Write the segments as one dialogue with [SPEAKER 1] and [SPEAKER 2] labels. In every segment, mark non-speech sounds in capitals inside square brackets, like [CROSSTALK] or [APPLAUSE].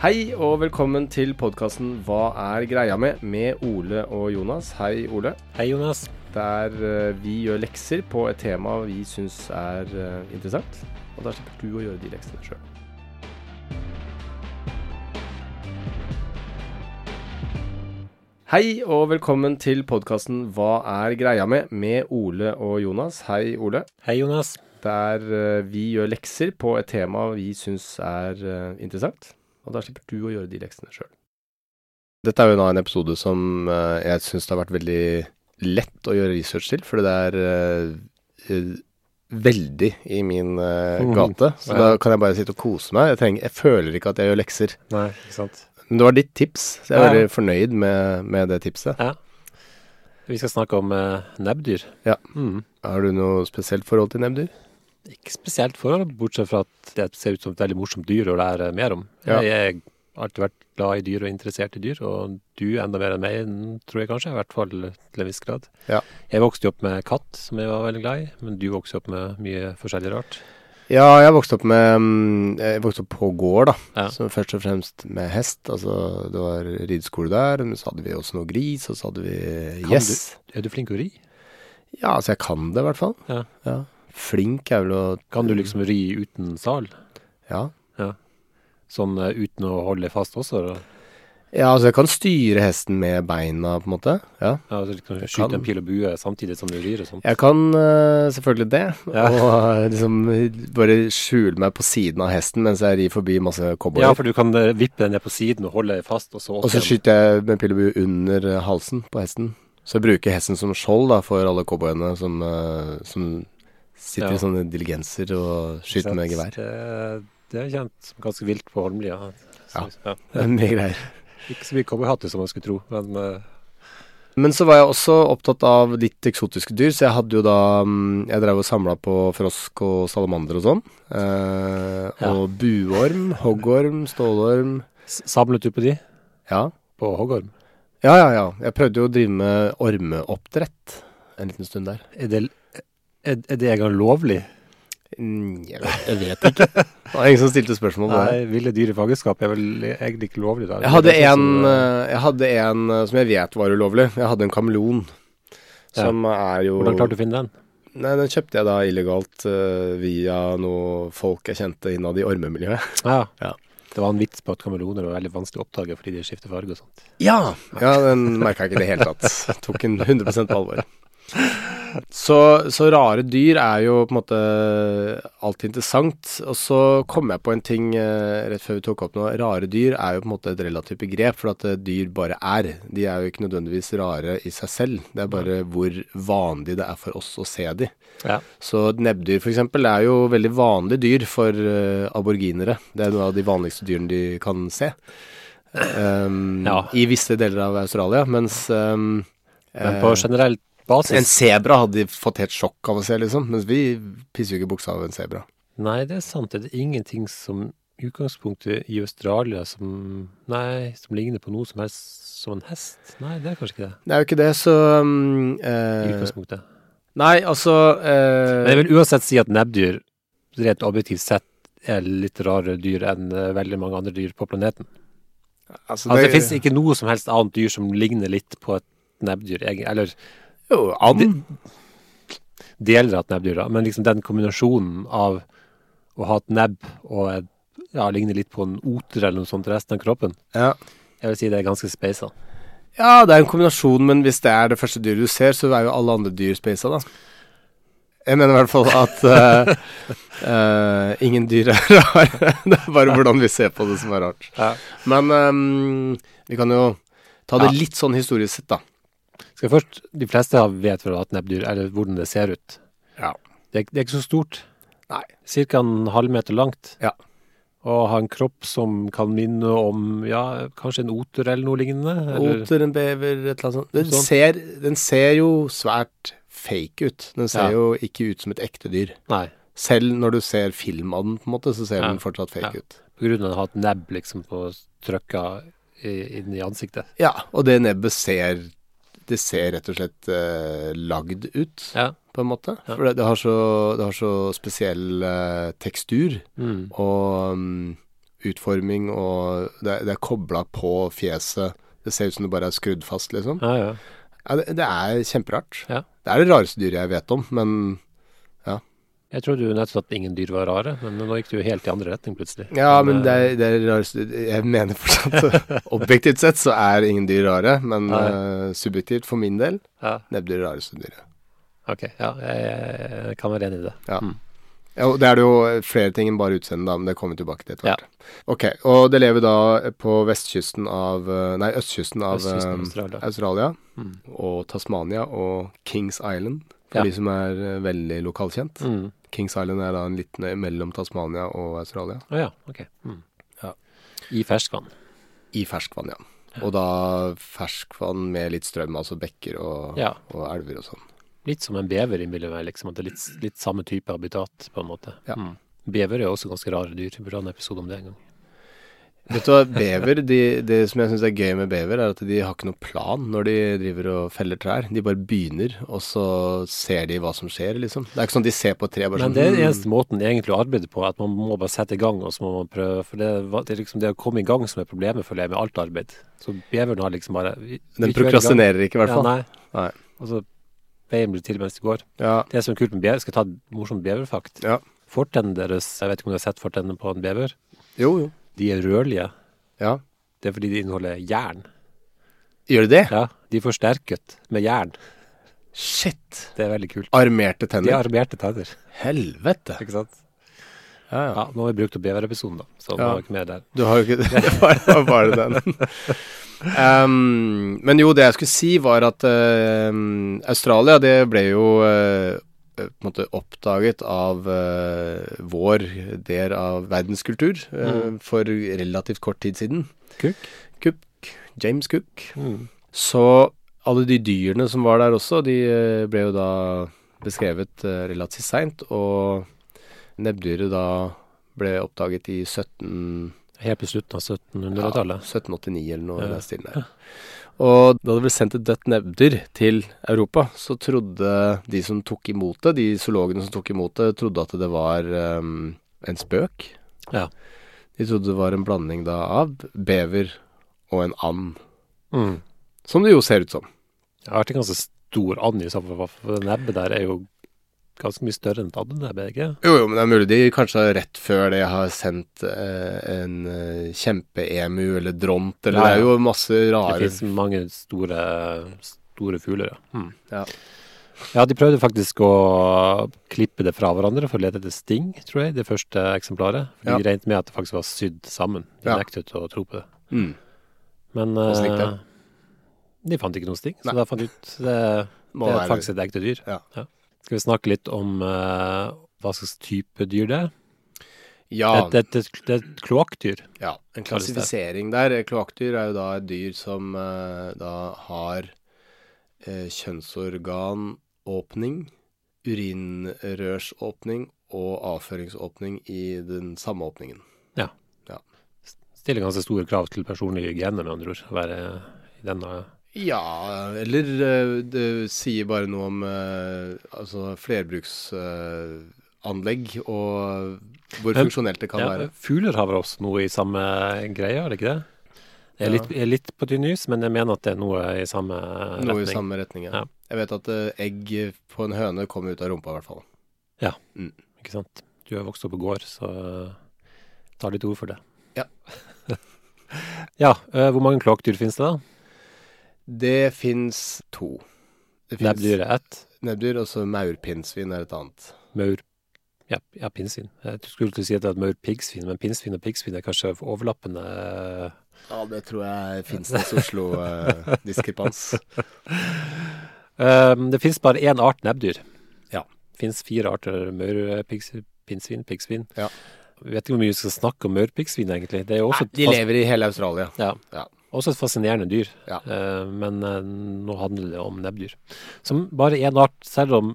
[SPEAKER 1] Hei og velkommen til podkasten Hva er greia med? med Ole og Jonas. Hei, Ole.
[SPEAKER 2] Hei, Jonas.
[SPEAKER 1] Der eh, vi gjør lekser på et tema vi syns er eh, interessant. Og da slipper du å gjøre de leksene sjøl. Hei og velkommen til podkasten Hva er greia med? med Ole og Jonas. Hei, Ole.
[SPEAKER 2] Hei, Jonas.
[SPEAKER 1] Der eh, vi gjør lekser på et tema vi syns er eh, interessant. Og da slipper du å gjøre de leksene sjøl.
[SPEAKER 3] Dette er jo da en episode som eh, jeg syns det har vært veldig lett å gjøre research til, fordi det er eh, eh, veldig i min eh,
[SPEAKER 1] Mhm.
[SPEAKER 3] gate. Så
[SPEAKER 1] Ja.
[SPEAKER 3] da kan jeg bare sitte og kose meg. Jeg, trenger, jeg føler ikke at jeg gjør lekser.
[SPEAKER 2] Nei, ikke sant.
[SPEAKER 3] Men det var ditt tips, så jeg er
[SPEAKER 2] Ja.
[SPEAKER 3] veldig fornøyd med, med det tipset.
[SPEAKER 2] Vi skal snakke om eh, nebbdyr.
[SPEAKER 3] Ja.
[SPEAKER 2] Mm.
[SPEAKER 3] Har du noe spesielt forhold til nebbdyr?
[SPEAKER 2] Ikke spesielt forhold, bortsett fra at det ser ut som et veldig morsomt dyr å lære mer om.
[SPEAKER 3] Ja.
[SPEAKER 2] Jeg har alltid vært glad i dyr og interessert i dyr, og du enda mer enn meg, mm, tror jeg kanskje, i hvert fall til en viss grad.
[SPEAKER 3] Ja.
[SPEAKER 2] Jeg vokste jo opp med katt, som jeg var veldig glad i, men du vokste jo opp med mye forskjellig rart.
[SPEAKER 3] Ja, jeg vokste opp med mm, Jeg vokste opp på gård, da.
[SPEAKER 2] Ja.
[SPEAKER 3] Så først og fremst med hest. Altså, det var rideskole der. Men så hadde vi også noe gris, og så hadde vi
[SPEAKER 2] Kan
[SPEAKER 3] gjess.
[SPEAKER 2] du- Er du flink å ri?
[SPEAKER 3] Ja, altså jeg kan det i hvert fall.
[SPEAKER 2] Ja.
[SPEAKER 3] Flink er vel å
[SPEAKER 2] Kan du liksom ri uten sal?
[SPEAKER 3] Ja.
[SPEAKER 2] Sånn eh, uten å holde fast også? da?
[SPEAKER 3] ja, altså jeg kan styre hesten med beina, på en måte. Ja.
[SPEAKER 2] Ja, altså liksom skyte
[SPEAKER 3] kan.
[SPEAKER 2] en pil og bue samtidig som du rir og sånn?
[SPEAKER 3] Jeg kan øh, selvfølgelig det,
[SPEAKER 2] Ja.
[SPEAKER 3] og øh, liksom bare skjule meg på siden av hesten mens jeg rir forbi masse cowboyer.
[SPEAKER 2] Ja, for du kan eh, vippe den ned på siden og holde fast, og så
[SPEAKER 3] og så skyter jeg med pil og bue under øh, halsen på hesten. Så jeg bruker hesten som skjold da, for alle cowboyene som, øh, som sitter
[SPEAKER 2] Ja.
[SPEAKER 3] i sånne diligenser og skyter med gevær.
[SPEAKER 2] Det, Eh, det er kjent som ganske vilt på Holmlia. Så, ja.
[SPEAKER 3] Det er [LAUGHS] mye greier.
[SPEAKER 2] Ikke så mye cowboyhatter som man skulle tro, men eh,
[SPEAKER 3] Men så var jeg også opptatt av litt eksotiske dyr, så jeg hadde jo da mm, Jeg drev og samla på frosk og salamander og sånn. Eh,
[SPEAKER 2] Ja.
[SPEAKER 3] Og buorm, hoggorm, stålorm.
[SPEAKER 2] s- samlet du på de?
[SPEAKER 3] Ja.
[SPEAKER 2] På hoggorm?
[SPEAKER 3] ja, ja, ja. Jeg prøvde jo å drive med ormeoppdrett en liten stund der.
[SPEAKER 2] Er det, er, er det engang lovlig?
[SPEAKER 3] Mm, Jeg vet, jeg vet ikke. Det var ingen som stilte spørsmål. om det.
[SPEAKER 2] [LAUGHS] Nei, ville dyr i fangenskap er vel egentlig ikke lovlig da?
[SPEAKER 3] Jeg hadde,
[SPEAKER 2] Det er
[SPEAKER 3] en,
[SPEAKER 2] sånn som, eh,
[SPEAKER 3] eh, jeg hadde en eh, som jeg vet var ulovlig. Jeg hadde en kameleon.
[SPEAKER 2] Ja.
[SPEAKER 3] Som er jo
[SPEAKER 2] Hvordan klarte du å finne den?
[SPEAKER 3] Nei, den kjøpte jeg da illegalt eh, via noe folk jeg kjente innad i ormemiljøet.
[SPEAKER 2] Ja.
[SPEAKER 3] Ja.
[SPEAKER 2] Det var en vits på at kameleoner var veldig vanskelig å oppdage fordi de skifter farge og sånt.
[SPEAKER 3] Ja! ja den merka jeg ikke i det hele
[SPEAKER 2] [LAUGHS]
[SPEAKER 3] tatt. Tok den 100 på alvor. Så, så rare dyr er jo på en måte alltid interessant. Og så kom jeg på en ting eh, rett før vi tok opp nå. Rare dyr er jo på en måte et relativt begrep, for at eh, dyr bare er. De er jo ikke nødvendigvis rare i seg selv. Det er bare hvor vanlig det er for oss å se de.
[SPEAKER 2] Ja.
[SPEAKER 3] Så nebbdyr for eksempel er jo veldig vanlige dyr for eh, aborginere. Det er noe av de vanligste dyrene de kan se. Ehm,
[SPEAKER 2] Ja.
[SPEAKER 3] I visse deler av Australia, mens ehm,
[SPEAKER 2] Men på
[SPEAKER 3] eh,
[SPEAKER 2] generell
[SPEAKER 3] en
[SPEAKER 2] basis
[SPEAKER 3] sebra hadde de fått helt sjokk av å se, liksom. Mens vi pisser jo ikke i buksa av en sebra.
[SPEAKER 2] Nei, det er sant. Det er ingenting som i utgangspunktet i Australia som Nei, som ligner på noe som helst som en hest. Nei, det er kanskje ikke det.
[SPEAKER 3] Det er jo ikke det, så ehm,
[SPEAKER 2] I
[SPEAKER 3] eh,
[SPEAKER 2] utgangspunktet.
[SPEAKER 3] Nei, altså eh,
[SPEAKER 2] Men jeg vil uansett si at nebbdyr rent objektivt sett er litt rarere dyr enn eh, veldig mange andre dyr på planeten.
[SPEAKER 3] Altså,
[SPEAKER 2] Altså, det finnes ikke noe som helst annet dyr som ligner litt på et nebbdyr, egen- eller
[SPEAKER 3] jo and.
[SPEAKER 2] deler av et nebbdyr, da. Men liksom den kombinasjonen av å ha et nebb og et, ja, ligne litt på en oter eller noe sånt i resten av kroppen,
[SPEAKER 3] Ja.
[SPEAKER 2] jeg vil si det er ganske speisa.
[SPEAKER 3] ja, det er en kombinasjon, men hvis det er det første dyret du ser, så er jo alle andre dyr spasa, da. Jeg mener i hvert fall at eh, eh, ingen dyr er [LAUGHS] rare. det er bare hvordan vi ser på det som er rart.
[SPEAKER 2] Ja.
[SPEAKER 3] Men ehm, vi kan jo ta det
[SPEAKER 2] Ja.
[SPEAKER 3] litt sånn historisk sett, da.
[SPEAKER 2] Skal jeg først, De fleste har- vet vel hva et nebbdyr eller hvordan det ser ut.
[SPEAKER 3] Ja.
[SPEAKER 2] Det, er- det er ikke så stort.
[SPEAKER 3] Nei.
[SPEAKER 2] Cirka en halvmeter langt.
[SPEAKER 3] Ja.
[SPEAKER 2] Og har en kropp som kan minne om ja, kanskje en oter eller noe lignende. Eller,
[SPEAKER 3] Oter, en bever, et eller annet sånt. Den,
[SPEAKER 2] Sånn.
[SPEAKER 3] ser, den ser jo svært fake ut. Den ser
[SPEAKER 2] Ja.
[SPEAKER 3] jo ikke ut som et ekte dyr.
[SPEAKER 2] Nei.
[SPEAKER 3] Selv når du ser film av den, på en måte, så ser
[SPEAKER 2] Ja.
[SPEAKER 3] den fortsatt fake
[SPEAKER 2] Ja.
[SPEAKER 3] ut.
[SPEAKER 2] På grunn av å ha et nebb liksom på trykka i- inn i ansiktet.
[SPEAKER 3] Ja, og det nebbet ser Det ser rett og slett eh, lagd ut,
[SPEAKER 2] Ja.
[SPEAKER 3] på en måte.
[SPEAKER 2] Ja.
[SPEAKER 3] For det, det, har så, det har så spesiell eh, tekstur
[SPEAKER 2] Mm.
[SPEAKER 3] og mm, utforming, og det, er- det er kobla på fjeset. Det ser ut som det bare er skrudd fast, liksom.
[SPEAKER 2] Ja, ja.
[SPEAKER 3] Ja, det, det er kjemperart.
[SPEAKER 2] Ja.
[SPEAKER 3] Det er det rareste dyret jeg vet om, men
[SPEAKER 2] Jeg trodde jo nettopp at ingen dyr var rare, men nå gikk det jo helt i andre retning plutselig. eh,
[SPEAKER 3] Ja, men det, er- det er rarest Jeg mener
[SPEAKER 2] [LAUGHS]
[SPEAKER 3] fortsatt Objektivt sett så er ingen dyr rare, men
[SPEAKER 2] Nei.
[SPEAKER 3] eh, subjektivt for min del,
[SPEAKER 2] Ja.
[SPEAKER 3] nebbdyr er rareste dyret.
[SPEAKER 2] Ok, ja, jeg, jeg kan være enig i det.
[SPEAKER 3] Ja. Ja, og det er det jo flere ting enn bare utseendet, da, men det kommer vi tilbake til etter
[SPEAKER 2] Ja.
[SPEAKER 3] hvert. Ok, og det lever da på vestkysten av eh, Nei, østkysten av
[SPEAKER 2] Østkysten av
[SPEAKER 3] eh,
[SPEAKER 2] Australia.
[SPEAKER 3] Australia
[SPEAKER 2] Mm.
[SPEAKER 3] og Tasmania og Kings Island, for
[SPEAKER 2] Ja.
[SPEAKER 3] de som er eh, veldig lokalkjent.
[SPEAKER 2] Mm.
[SPEAKER 3] Kings Island er da en liten øy mellom Tasmania og Australia.
[SPEAKER 2] Å ja, ok. Mm.
[SPEAKER 3] Ja.
[SPEAKER 2] I ferskvann.
[SPEAKER 3] I ferskvann, ja. Og da ferskvann med litt strøm, altså bekker og,
[SPEAKER 2] Ja.
[SPEAKER 3] og elver og sånn.
[SPEAKER 2] Litt som en bever, innbiller jeg meg. Liksom, at det er litt, litt samme type habitat, på en måte.
[SPEAKER 3] Ja.
[SPEAKER 2] Mm. Bever er jo også ganske rare dyr. Vi burde ha en episode om det en gang.
[SPEAKER 3] Vet du hva, bever, de, det som jeg syns er gøy med bever, er at de har ikke noen plan når de driver og feller trær. De bare begynner, og så ser de hva som skjer, liksom. Det er ikke sånn de ser på et tre bare
[SPEAKER 2] Men
[SPEAKER 3] sånn
[SPEAKER 2] det er den
[SPEAKER 3] «Hmm,
[SPEAKER 2] eneste måten egentlig å arbeide på, at man må bare sette i gang, og så må man prøve. For det, er va- det er liksom det å komme i gang som er problemet, føler jeg, med alt arbeid. Så beveren har liksom bare vi- vi
[SPEAKER 3] Den
[SPEAKER 2] kjører i gang.
[SPEAKER 3] prokrastinerer ikke, i hvert fall.
[SPEAKER 2] Ja, nei.
[SPEAKER 3] Nei.
[SPEAKER 2] Og så veien blir til mens det går.
[SPEAKER 3] Ja,
[SPEAKER 2] Det som er kult med bever, skal jeg ta en morsom beverfakt.
[SPEAKER 3] Ja.
[SPEAKER 2] Fortennene deres, jeg vet ikke om du har sett fortennene på en bever,
[SPEAKER 3] Jo, jo.
[SPEAKER 2] de er rødlige.
[SPEAKER 3] Ja.
[SPEAKER 2] Det er fordi de inneholder jern.
[SPEAKER 3] Gjør de det?
[SPEAKER 2] Ja, de er forsterket med jern.
[SPEAKER 3] Shit!
[SPEAKER 2] Det er veldig kult.
[SPEAKER 3] Armerte
[SPEAKER 2] De
[SPEAKER 3] tenner.
[SPEAKER 2] har armerte tenner,
[SPEAKER 3] Helvete!
[SPEAKER 2] ikke sant?
[SPEAKER 3] Ja, ja.
[SPEAKER 2] Ja, nå har vi brukt opp beverepisoden, da, så nå
[SPEAKER 3] Ja.
[SPEAKER 2] er vi ikke mer der.
[SPEAKER 3] Du har jo ikke det. [LAUGHS] var, var bare den. Ehm, men jo, det jeg skulle si var at ehm, Australia, det ble jo eh, på en måte oppdaget av eh, vår del av verdenskultur eh, for relativt kort tid siden.
[SPEAKER 2] Cook.
[SPEAKER 3] Cook, James Cook.
[SPEAKER 2] Mm.
[SPEAKER 3] Så alle de dyrene som var der også, de eh, ble jo da beskrevet eh, relativt seint, og nebbdyret da ble oppdaget i 17...
[SPEAKER 2] Helt på slutten av
[SPEAKER 3] Ja,
[SPEAKER 2] 1700-tallet.
[SPEAKER 3] 1789 eller noe i
[SPEAKER 2] Ja.
[SPEAKER 3] den stilen der. Og da det ble sendt et dødt nebbdyr til Europa, så trodde de som tok imot det, de zoologene som tok imot det, trodde at det var ehm, en spøk.
[SPEAKER 2] Ja.
[SPEAKER 3] De trodde det var en blanding da av bever og en and.
[SPEAKER 2] Mm.
[SPEAKER 3] Som det jo ser ut som.
[SPEAKER 2] Jeg har vært en ganske stor and i samfunnet, for det nebbet der er jo ganske mye større enn et annet nebbe, ikke?
[SPEAKER 3] Jo, jo, men det er mulig de kanskje rett før det har sendt eh, en eh, kjempeemu eller dront, eller
[SPEAKER 2] Ja,
[SPEAKER 3] det
[SPEAKER 2] ja.
[SPEAKER 3] er jo masse
[SPEAKER 2] Det
[SPEAKER 3] rare
[SPEAKER 2] finnes mange store, store fugler, ja. Mm.
[SPEAKER 3] Ja.
[SPEAKER 2] Ja, de prøvde faktisk å klippe det fra hverandre for å lete etter sting, tror jeg, det første eksemplaret. For De regnet med at det faktisk var sydd sammen. De
[SPEAKER 3] Ja.
[SPEAKER 2] nektet å tro på det.
[SPEAKER 3] Mm.
[SPEAKER 2] Men
[SPEAKER 3] slik
[SPEAKER 2] eh,
[SPEAKER 3] det?
[SPEAKER 2] de fant ikke noen sting, så
[SPEAKER 3] Nei.
[SPEAKER 2] da fant de ut det,
[SPEAKER 3] Må
[SPEAKER 2] det
[SPEAKER 3] være-
[SPEAKER 2] er faktisk et ekte dyr.
[SPEAKER 3] Ja.
[SPEAKER 2] Skal vi snakke litt om eh, hva slags type dyr det er?
[SPEAKER 3] Ja,
[SPEAKER 2] Det, det, det, det er et kloakkdyr.
[SPEAKER 3] Ja, en
[SPEAKER 2] kalles det.
[SPEAKER 3] klassifisering der. eh, Kloakkdyr er jo da et dyr som eh, da har eh, kjønnsorganåpning, urinrørsåpning og avføringsåpning i den samme åpningen.
[SPEAKER 2] Stiller ganske store krav til personlig hygiene, med andre ord. Å være i denne
[SPEAKER 3] Ja, eller eh, det sier bare noe om eh, altså flerbruksanlegg og hvor
[SPEAKER 2] Men-
[SPEAKER 3] funksjonelt det kan
[SPEAKER 2] ja,
[SPEAKER 3] være.
[SPEAKER 2] Fugler har vel også noe i samme greia, er det ikke det? Jeg er, litt, jeg er litt på tynn is, men jeg mener at det er noe i samme retning.
[SPEAKER 3] Noe i samme retning, ja.
[SPEAKER 2] Ja.
[SPEAKER 3] Jeg vet at eh, egg på en høne kommer ut av rumpa, i hvert fall.
[SPEAKER 2] Ikke sant? Du er vokst opp på gård, så eh, ta litt ord for det.
[SPEAKER 3] Ja.
[SPEAKER 2] [LAUGHS] ja, eh, hvor mange kloakkdyr finnes det, da?
[SPEAKER 3] Det fins to. Det finnes
[SPEAKER 2] Nebbdyr er ett.
[SPEAKER 3] Nebbdyr, og så maurpinnsvin er et annet.
[SPEAKER 2] Maur ja, ja, pinnsvin. Jeg skulle til å si at det er et maur-piggsvin, men pinnsvin og piggsvin er kanskje overlappende eh,
[SPEAKER 3] Ja, det tror jeg fins hos [LAUGHS] eh, Oslo-diskrepans.
[SPEAKER 2] Ehm, det finnes bare én art nebbdyr.
[SPEAKER 3] Ja.
[SPEAKER 2] Det finnes fire arter maur, pigs, pinnsvin, piggsvin.
[SPEAKER 3] Ja.
[SPEAKER 2] Vi vet ikke hvor mye vi skal snakke om maurpiggsvin, egentlig. Det er jo også, et
[SPEAKER 3] de
[SPEAKER 2] fas-
[SPEAKER 3] lever i hele Australia.
[SPEAKER 2] ja,
[SPEAKER 3] Ja.
[SPEAKER 2] også et fascinerende dyr,
[SPEAKER 3] Ja.
[SPEAKER 2] Eh, men eh, nå handler det om nebbdyr. Som bare én art, selv om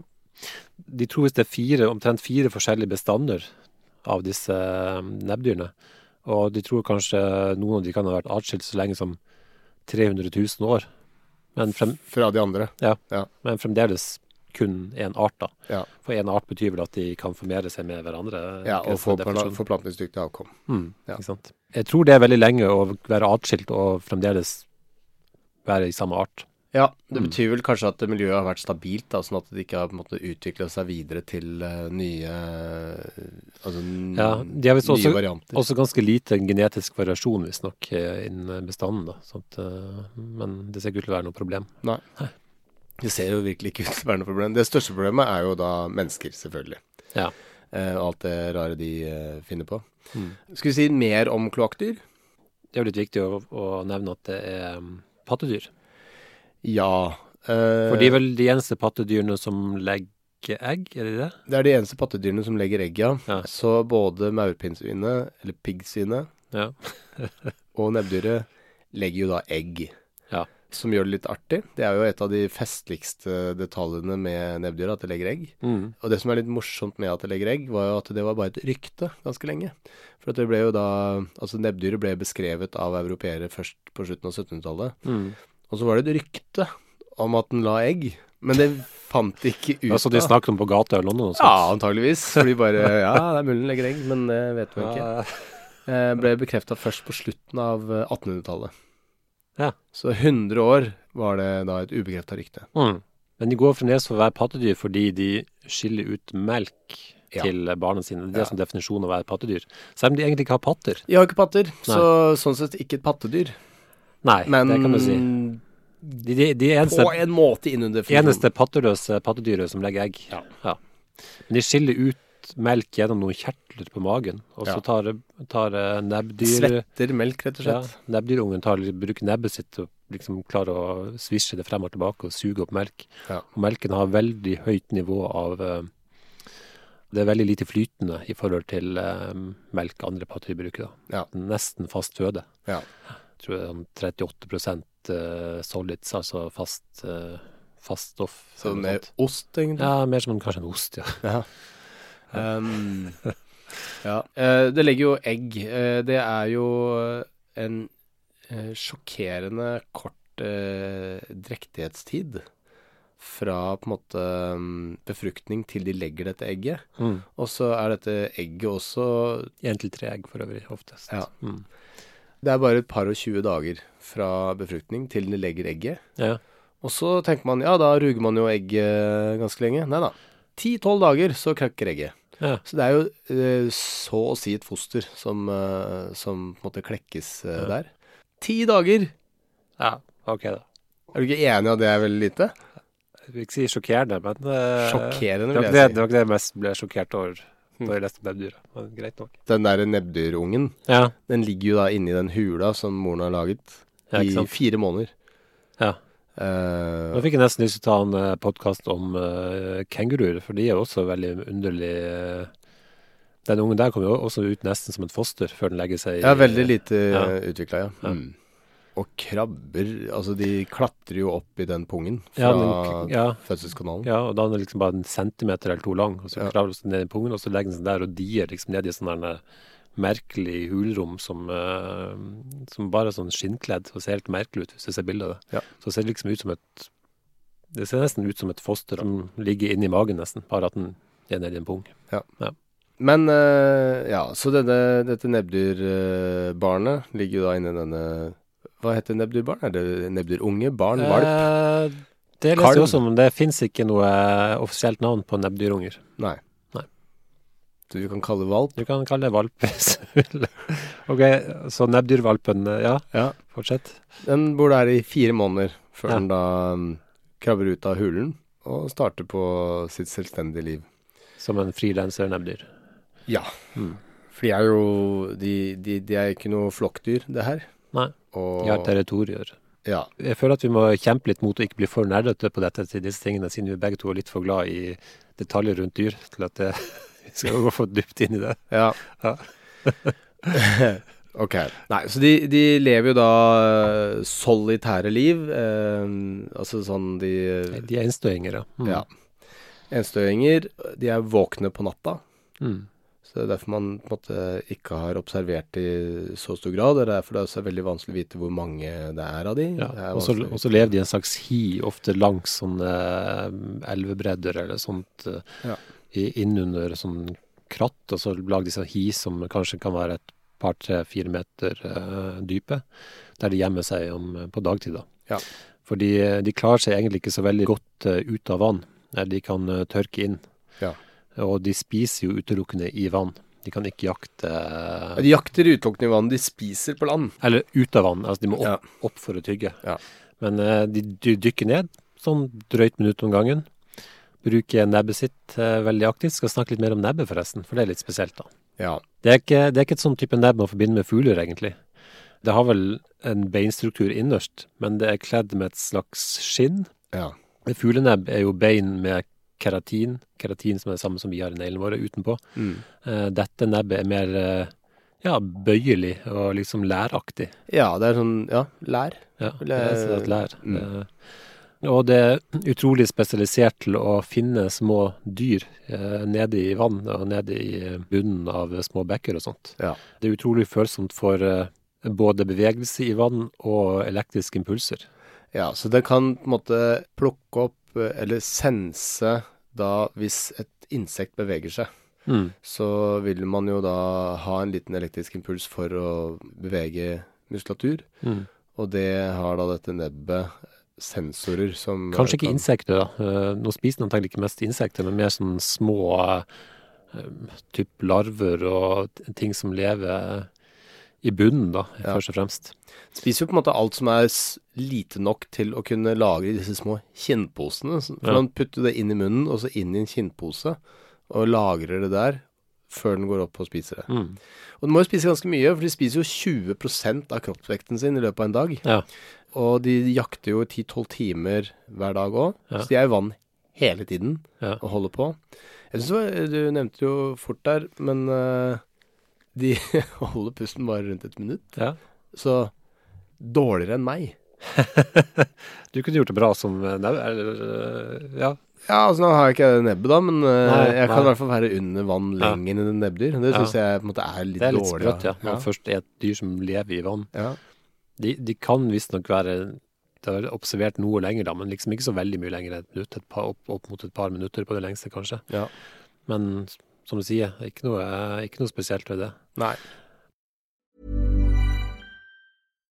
[SPEAKER 2] de tror visst det er fire, omtrent fire forskjellige bestander av disse eh, nebbdyrene. Og de tror kanskje noen av de kan ha vært atskilt så lenge som 300 000 år. Men frem,
[SPEAKER 3] Fra de andre.
[SPEAKER 2] ja.
[SPEAKER 3] Ja.
[SPEAKER 2] men fremdeles kun én art, da.
[SPEAKER 3] Ja.
[SPEAKER 2] For én art betyr vel at de kan formere seg med hverandre?
[SPEAKER 3] Ja, og
[SPEAKER 2] etter
[SPEAKER 3] få
[SPEAKER 2] definisjonen.
[SPEAKER 3] forpla- forplantningsdyktig avkom.
[SPEAKER 2] Mm,
[SPEAKER 3] ja.
[SPEAKER 2] Ikke sant. Jeg tror det er veldig lenge å være atskilt og fremdeles være i samme art.
[SPEAKER 3] Ja, det
[SPEAKER 2] Mm.
[SPEAKER 3] betyr vel kanskje at miljøet har vært stabilt, da, sånn at det ikke har på en måte utvikla seg videre til eh, nye eh, Altså n-
[SPEAKER 2] Ja, de har visst
[SPEAKER 3] nye
[SPEAKER 2] også,
[SPEAKER 3] varianter.
[SPEAKER 2] også ganske lite genetisk variasjon, visstnok, eh, innen bestanden. da. Sånt, eh, men det ser ikke ut til å være noe problem.
[SPEAKER 3] Det ser jo virkelig ikke ut til å være noe problem. Det største problemet er jo da mennesker, selvfølgelig.
[SPEAKER 2] Ja.
[SPEAKER 3] Eh, og alt det rare de eh, finner på.
[SPEAKER 2] Mm.
[SPEAKER 3] Skal vi si mer om kloakkdyr?
[SPEAKER 2] Det er jo litt viktig å, å nevne at det er mm, pattedyr.
[SPEAKER 3] Ja. eh,
[SPEAKER 2] For de er vel de eneste pattedyrene som legger egg, er de det?
[SPEAKER 3] Det er de eneste pattedyrene som legger egg, ja.
[SPEAKER 2] Ja.
[SPEAKER 3] Så både maurpinnsvinet, eller piggsvinet,
[SPEAKER 2] Ja.
[SPEAKER 3] [LAUGHS] og nebbdyret legger jo da egg.
[SPEAKER 2] Ja.
[SPEAKER 3] Som gjør det litt artig. Det er jo et av de festligste detaljene med nebbdyret, at det legger egg.
[SPEAKER 2] Mm.
[SPEAKER 3] Og det som er litt morsomt med at det legger egg, var jo at det var bare et rykte ganske lenge. For at det ble jo da Altså, nebbdyret ble beskrevet av europeere først på slutten av 1700-tallet.
[SPEAKER 2] Mm.
[SPEAKER 3] Og så var det et rykte om at den la egg, men det fant de ikke ut
[SPEAKER 2] Altså, de
[SPEAKER 3] av.
[SPEAKER 2] snakket om på gata i London og
[SPEAKER 3] Ja,
[SPEAKER 2] sånt.
[SPEAKER 3] antageligvis. Fordi
[SPEAKER 2] [LAUGHS]
[SPEAKER 3] bare Ja, det er mulig den legger egg, men det vet vi ikke. Eh, Ble bekrefta først på slutten av eh, 1800-tallet.
[SPEAKER 2] Ja.
[SPEAKER 3] Så 100 år var det da et ubekrefta rykte.
[SPEAKER 2] Mm. Men de går fremdeles for å være pattedyr fordi de skiller ut melk
[SPEAKER 3] Ja.
[SPEAKER 2] til barna sine. Det er
[SPEAKER 3] Ja.
[SPEAKER 2] det som definisjonen å være pattedyr. Selv om de egentlig ikke har patter.
[SPEAKER 3] De har ikke patter, så sånn sett ikke et pattedyr.
[SPEAKER 2] Nei,
[SPEAKER 3] Men
[SPEAKER 2] det kan du si. De, de, de er eneste,
[SPEAKER 3] på en måte innunder
[SPEAKER 2] eneste patteløse pattedyret som legger egg. Ja. Men de skiller ut melk gjennom noen kjertler på magen, og så
[SPEAKER 3] Ja.
[SPEAKER 2] tar, tar eh, nebbdyr...
[SPEAKER 3] Svetter melk, rett og
[SPEAKER 2] Ja,
[SPEAKER 3] slett.
[SPEAKER 2] nebbdyrungen tar, bruker nebbet sitt og liksom klarer å svisje det frem og tilbake og suge opp melk.
[SPEAKER 3] Ja.
[SPEAKER 2] Og melken har veldig høyt nivå av eh, Det er veldig lite flytende i forhold til eh, melk andre pattedyr bruker. Da.
[SPEAKER 3] Ja.
[SPEAKER 2] Nesten fast føde.
[SPEAKER 3] Ja.
[SPEAKER 2] Jeg tror det er om 38 eh, solids, altså fast, eh, fast stoff.
[SPEAKER 3] Så
[SPEAKER 2] eller noe
[SPEAKER 3] med
[SPEAKER 2] sånt.
[SPEAKER 3] ost, egentlig.
[SPEAKER 2] ja, mer som en- kanskje en ost, ja. [LAUGHS]
[SPEAKER 3] Um, ja. Eh, det legger jo egg. Eh, det er jo en eh, sjokkerende kort eh, drektighetstid fra på en måte um, befruktning til de legger dette egget.
[SPEAKER 2] Mm.
[SPEAKER 3] Og så er dette egget også
[SPEAKER 2] Én til tre egg for øvrig, oftest.
[SPEAKER 3] Ja.
[SPEAKER 2] Mm.
[SPEAKER 3] Det er bare et par og tjue dager fra befruktning til de legger egget.
[SPEAKER 2] ja.
[SPEAKER 3] Og så tenker man ja, da ruger man jo egget ganske lenge. Nei da. Ti-tolv dager, så krakker egget.
[SPEAKER 2] Ja.
[SPEAKER 3] Så det er jo eh, så å si et foster som, eh, som på en måte klekkes eh, der. Ti dager!
[SPEAKER 2] ja. OK, da.
[SPEAKER 3] Er du ikke enig i at det er veldig lite?
[SPEAKER 2] Jeg vil ikke si sjokkerende, men eh,
[SPEAKER 3] Sjokkerende,
[SPEAKER 2] det var,
[SPEAKER 3] vil jeg
[SPEAKER 2] ikke det, det
[SPEAKER 3] si.
[SPEAKER 2] var ikke det jeg mest ble sjokkert over da jeg leste om nebbdyret. Men greit nok.
[SPEAKER 3] Den der nebbdyrungen,
[SPEAKER 2] Ja,
[SPEAKER 3] den ligger jo da inni den hula som moren har laget,
[SPEAKER 2] ja
[SPEAKER 3] i
[SPEAKER 2] ikke sant.
[SPEAKER 3] fire måneder.
[SPEAKER 2] Ja.
[SPEAKER 3] Eh,
[SPEAKER 2] Nå fikk jeg nesten lyst til å ta en eh, podkast om eh, kenguruer, for de er jo også veldig underlig eh, Den ungen der kom jo også ut nesten som et foster før den legger seg i
[SPEAKER 3] ja, veldig lite ja.
[SPEAKER 2] Eh, Ja.
[SPEAKER 3] utvikla, ja.
[SPEAKER 2] Ja.
[SPEAKER 3] Mm. Og krabber Altså, de klatrer jo opp i den pungen fra
[SPEAKER 2] Ja, den, ja,
[SPEAKER 3] fødselskanalen.
[SPEAKER 2] ja, og da er den liksom bare en centimeter eller to lang, og så
[SPEAKER 3] Mm. Ja.
[SPEAKER 2] kravler den ned i pungen, og så legger den seg der og dier liksom ned i sånn der merkelig hulrom som, eh, som bare er sånn skinnkledd og ser helt merkelig ut hvis du ser bilde av det.
[SPEAKER 3] Ja.
[SPEAKER 2] Så det ser liksom ut som et Det ser nesten ut som et foster som ligger inni magen, nesten, bare at den er nedi en pung.
[SPEAKER 3] Men eh, ja, så denne, dette nebbdyrbarnet ligger jo da inni denne Hva heter nebbdyrbarn? Er det nebbdyrunge? Barn? Valp?
[SPEAKER 2] Eh, det leser
[SPEAKER 3] Kalv.
[SPEAKER 2] jeg også om. Det fins ikke noe eh, offisielt navn på nebbdyrunger.
[SPEAKER 3] Nei.
[SPEAKER 2] nei.
[SPEAKER 3] Så vi kan kalle valp
[SPEAKER 2] Du kan kalle det valp hvis du vil. [LAUGHS] Ok, så nebbdyrvalpen, eh, ja,
[SPEAKER 3] Ja.
[SPEAKER 2] fortsett.
[SPEAKER 3] Den bor der i fire måneder før
[SPEAKER 2] Ja.
[SPEAKER 3] den da mm, krabber ut av hulen og starter på sitt selvstendige liv.
[SPEAKER 2] Som en frilanser nebbdyr.
[SPEAKER 3] Ja. For de er jo de, de, de er ikke noe flokkdyr, det her.
[SPEAKER 2] Nei,
[SPEAKER 3] Og,
[SPEAKER 2] de har territorier.
[SPEAKER 3] ja,
[SPEAKER 2] Jeg føler at vi må kjempe litt mot å ikke bli for nerdete på dette til disse tingene, siden vi begge to er litt for glad i detaljer rundt dyr til at det, [LAUGHS] vi skal gå for dypt inn i det.
[SPEAKER 3] ja.
[SPEAKER 2] Ja. [LAUGHS]
[SPEAKER 3] ok. Nei, så de, de lever jo da eh, solitære liv. Eh, altså sånn de
[SPEAKER 2] De er innstøinger, ja. Mm.
[SPEAKER 3] Ja. Enstøinger. De er våkne på natta.
[SPEAKER 2] Mm.
[SPEAKER 3] Så det er derfor man på en måte ikke har observert de i så stor grad. og Det er derfor det også er veldig vanskelig å vite hvor mange det er av de.
[SPEAKER 2] Ja,
[SPEAKER 3] Det er
[SPEAKER 2] og så-
[SPEAKER 3] vanskelig.
[SPEAKER 2] og så lever de i en slags hi, ofte langs sånne eh, elvebredder eller sånt, eh,
[SPEAKER 3] Ja.
[SPEAKER 2] i- innunder sånn kratt, og så lager de sånn hi som kanskje kan være et par, tre, fire meter eh, dype, der de gjemmer seg om, eh, på dagtid. da.
[SPEAKER 3] Ja.
[SPEAKER 2] For de, eh, de klarer seg egentlig ikke så veldig godt eh, ut av vann, Eh, de kan eh, tørke inn.
[SPEAKER 3] Ja.
[SPEAKER 2] Og de spiser jo utelukkende i vann. De kan ikke jakte eh,
[SPEAKER 3] Ja, De jakter utelukkende i vann. De spiser på land.
[SPEAKER 2] eller ut av vann. Altså de må
[SPEAKER 3] Ja.
[SPEAKER 2] opp, opp for å tygge.
[SPEAKER 3] Ja.
[SPEAKER 2] Men eh, de dy- dykker ned, sånn drøyt minutt om gangen. Bruker nebbet sitt eh, veldig aktivt. Skal snakke litt mer om nebbet, forresten, for det er litt spesielt, da.
[SPEAKER 3] Ja.
[SPEAKER 2] Det er ikke, det er ikke et sånn type nebb man forbinder med fugler, egentlig. Det har vel en beinstruktur innerst, men det er kledd med et slags skinn.
[SPEAKER 3] ja.
[SPEAKER 2] Fuglenebb er jo bein med keratin, keratin som er det samme som vi har i neglene våre utenpå. Eh, Dette nebbet er mer eh, ja, bøyelig og liksom læraktig.
[SPEAKER 3] Ja, det er sånn Ja, lær.
[SPEAKER 2] Ja,
[SPEAKER 3] Eller-
[SPEAKER 2] det er sånn at lær.
[SPEAKER 3] Mm.
[SPEAKER 2] Eh, Og det er utrolig spesialisert til å finne små dyr eh, nede i vann og nede i eh, bunnen av små bekker og sånt.
[SPEAKER 3] Ja.
[SPEAKER 2] Det er utrolig følsomt for eh, både bevegelse i vann og elektriske impulser.
[SPEAKER 3] Ja, så det kan på en måte plukke opp eh, eller sense da hvis et insekt beveger seg.
[SPEAKER 2] Mm.
[SPEAKER 3] Så vil man jo da ha en liten elektrisk impuls for å bevege muskulatur.
[SPEAKER 2] Mm.
[SPEAKER 3] Og det har da dette nebbet sensorer som
[SPEAKER 2] Kanskje ikke
[SPEAKER 3] kan-
[SPEAKER 2] insekter, da. Eh, Nå spiser den antagelig ikke mest insekter, men mer sånn små eh, um, typ larver og t- ting som lever eh, i bunnen, da,
[SPEAKER 3] Ja.
[SPEAKER 2] først og fremst.
[SPEAKER 3] Spiser jo på en måte alt som er s- lite nok til å kunne lagre i disse små kinnposene. Så- For
[SPEAKER 2] Ja.
[SPEAKER 3] man putter det inn i munnen, og så inn i en kinnpose, og lagrer det der før den går opp og spiser det.
[SPEAKER 2] Mm.
[SPEAKER 3] Og den må jo spise ganske mye, for de spiser jo 20 av kroppsvekten sin i løpet av en dag.
[SPEAKER 2] Ja.
[SPEAKER 3] Og de jakter jo 10-12 timer hver dag òg,
[SPEAKER 2] Ja.
[SPEAKER 3] så de er i vann hele tiden
[SPEAKER 2] Ja.
[SPEAKER 3] og holder på. Jeg synes det var, Du nevnte jo fort der, men eh, de [LAUGHS] holder pusten bare rundt et minutt.
[SPEAKER 2] ja.
[SPEAKER 3] Så dårligere enn meg.
[SPEAKER 2] Du kunne gjort det bra som eh, nau- eller, eh, ja.
[SPEAKER 3] Ja, altså nå har jeg ikke det nebbet da, men eh,
[SPEAKER 2] Nei,
[SPEAKER 3] jeg kan
[SPEAKER 2] nei.
[SPEAKER 3] i hvert fall være under vann
[SPEAKER 2] Ja.
[SPEAKER 3] lenger enn en nebbdyr. Det
[SPEAKER 2] Ja.
[SPEAKER 3] syns jeg på en måte er litt
[SPEAKER 2] Det er litt
[SPEAKER 3] dårlig.
[SPEAKER 2] sprøtt, ja. Når
[SPEAKER 3] ja.
[SPEAKER 2] man først er et dyr som lever i vann.
[SPEAKER 3] Ja.
[SPEAKER 2] De, de kan visstnok være det har observert noe lenger, da, men liksom ikke så veldig mye lenger enn et minutt. Et par, opp, opp mot et par minutter på det lengste, kanskje.
[SPEAKER 3] Ja.
[SPEAKER 2] Men som du sier, ikke noe, ikke noe spesielt ved det.
[SPEAKER 3] Nei.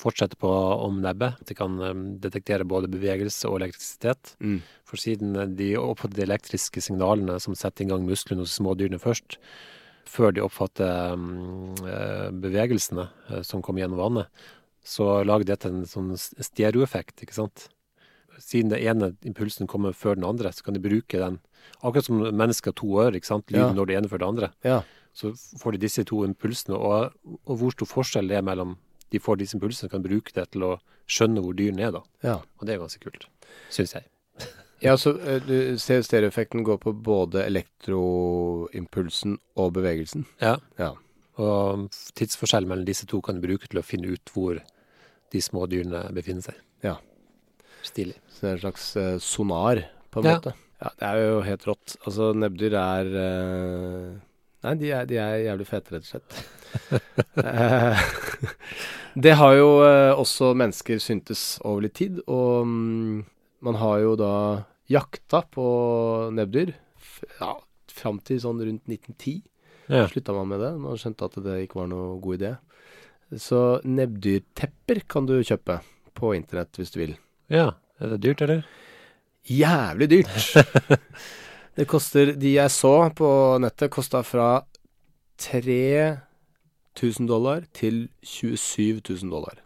[SPEAKER 2] fortsette på om nebbet. Det kan eh, detektere både bevegelse og elektrisitet.
[SPEAKER 3] Mm.
[SPEAKER 2] For siden eh, de oppfatter de elektriske signalene som setter i gang musklene hos smådyrene først, før de oppfatter mm, eh, bevegelsene eh, som kommer gjennom vannet, så lager dette en sånn s- stereoeffekt, ikke sant? Siden den ene impulsen kommer før den andre, så kan de bruke den. Akkurat som mennesker har to ører, ikke sant? Lyden
[SPEAKER 3] Ja.
[SPEAKER 2] når det ene før det andre
[SPEAKER 3] Ja.
[SPEAKER 2] så får de disse to impulsene. Og, og hvor stor forskjell det er mellom de får disse impulsene, kan bruke det til å skjønne hvor dyrene er, da.
[SPEAKER 3] ja.
[SPEAKER 2] Og det er ganske kult, syns jeg.
[SPEAKER 3] Ja, så eh, du ser stereoeffekten går på både elektroimpulsen og bevegelsen.
[SPEAKER 2] Ja.
[SPEAKER 3] Ja.
[SPEAKER 2] Og tidsforskjell mellom disse to kan du bruke til å finne ut hvor de små dyrene befinner seg.
[SPEAKER 3] Ja.
[SPEAKER 2] Stilig.
[SPEAKER 3] Så det er en slags eh, sonar, på en
[SPEAKER 2] Ja.
[SPEAKER 3] måte. Ja, det er jo helt rått. Altså, nebbdyr er eh, Nei, de er, de er jævlig fete, rett og slett. [LAUGHS] Eh, det har jo eh, også mennesker syntes over litt tid, og mm, man har jo da jakta på nebbdyr f- ja, fram til sånn rundt 1910.
[SPEAKER 2] Ja.
[SPEAKER 3] slutta man med det. Man skjønte at det ikke var noe god idé. Så nebbdyrtepper kan du kjøpe på internett hvis du vil.
[SPEAKER 2] ja. Er det dyrt, eller?
[SPEAKER 3] Jævlig dyrt! det koster De jeg så på nettet, kosta fra 3000 dollar til 27 000 dollar.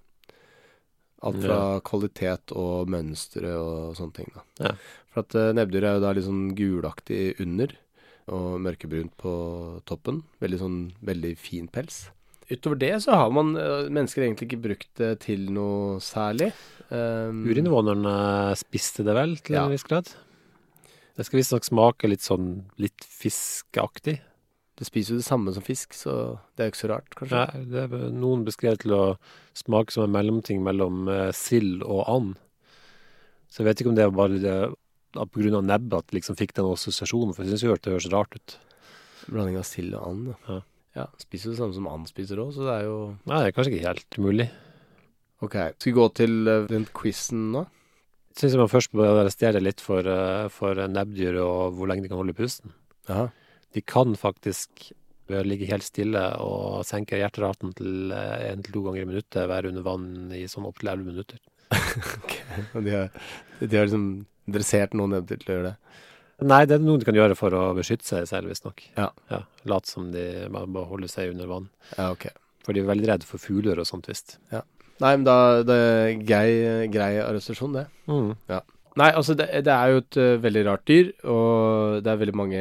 [SPEAKER 3] Alt fra kvalitet og mønstre og sånne ting. Da.
[SPEAKER 2] Ja.
[SPEAKER 3] For at eh, nebbdyr er jo da litt sånn gulaktig under, og mørkebrunt på toppen. Veldig sånn veldig fin pels. Utover det så har man eh, mennesker egentlig ikke brukt det til noe særlig. Um,
[SPEAKER 2] Urinvånerne eh, spiste det vel, til
[SPEAKER 3] Ja.
[SPEAKER 2] en viss grad? Det skal visstnok smake litt sånn litt fiskeaktig.
[SPEAKER 3] Det spiser jo det samme som fisk, så det er jo ikke så rart, kanskje.
[SPEAKER 2] Nei, det er noen beskrevet til å smake som en mellomting mellom eh, sild og and. Så jeg vet ikke om det var bare det, at på grunn av nebbet at de liksom fikk den assosiasjonen, for jeg synes jo at det høres rart ut.
[SPEAKER 3] Blanding av sild og and. Ja.
[SPEAKER 2] Ja.
[SPEAKER 3] ja. Spiser jo det samme som and spiser òg, så det er jo
[SPEAKER 2] Nei, det er kanskje ikke helt mulig.
[SPEAKER 3] Ok. Skal vi gå til eh, den quizen nå?
[SPEAKER 2] Jeg synes jeg man først bør arrestere litt for, eh, for nebbdyr og hvor lenge de kan holde pusten.
[SPEAKER 3] Ja.
[SPEAKER 2] De kan faktisk ved å ligge helt stille og senke hjerteraten til eh, en til to ganger i minuttet, være under vann i sånn opptil elleve minutter.
[SPEAKER 3] [LAUGHS] De har, de har liksom dressert noen nebbdyr til å gjøre det.
[SPEAKER 2] Nei, det er noe de kan gjøre for å beskytte seg selv, visstnok.
[SPEAKER 3] Ja.
[SPEAKER 2] Ja, Late som de bare bare holder seg under vann.
[SPEAKER 3] Ja, ok.
[SPEAKER 2] For de er veldig redde for fugler og sånt, visst.
[SPEAKER 3] Nei, men da det er grei, grei arrestasjon, det.
[SPEAKER 2] Mm.
[SPEAKER 3] Nei, altså det, det er jo et eh, veldig rart dyr, og det er veldig mange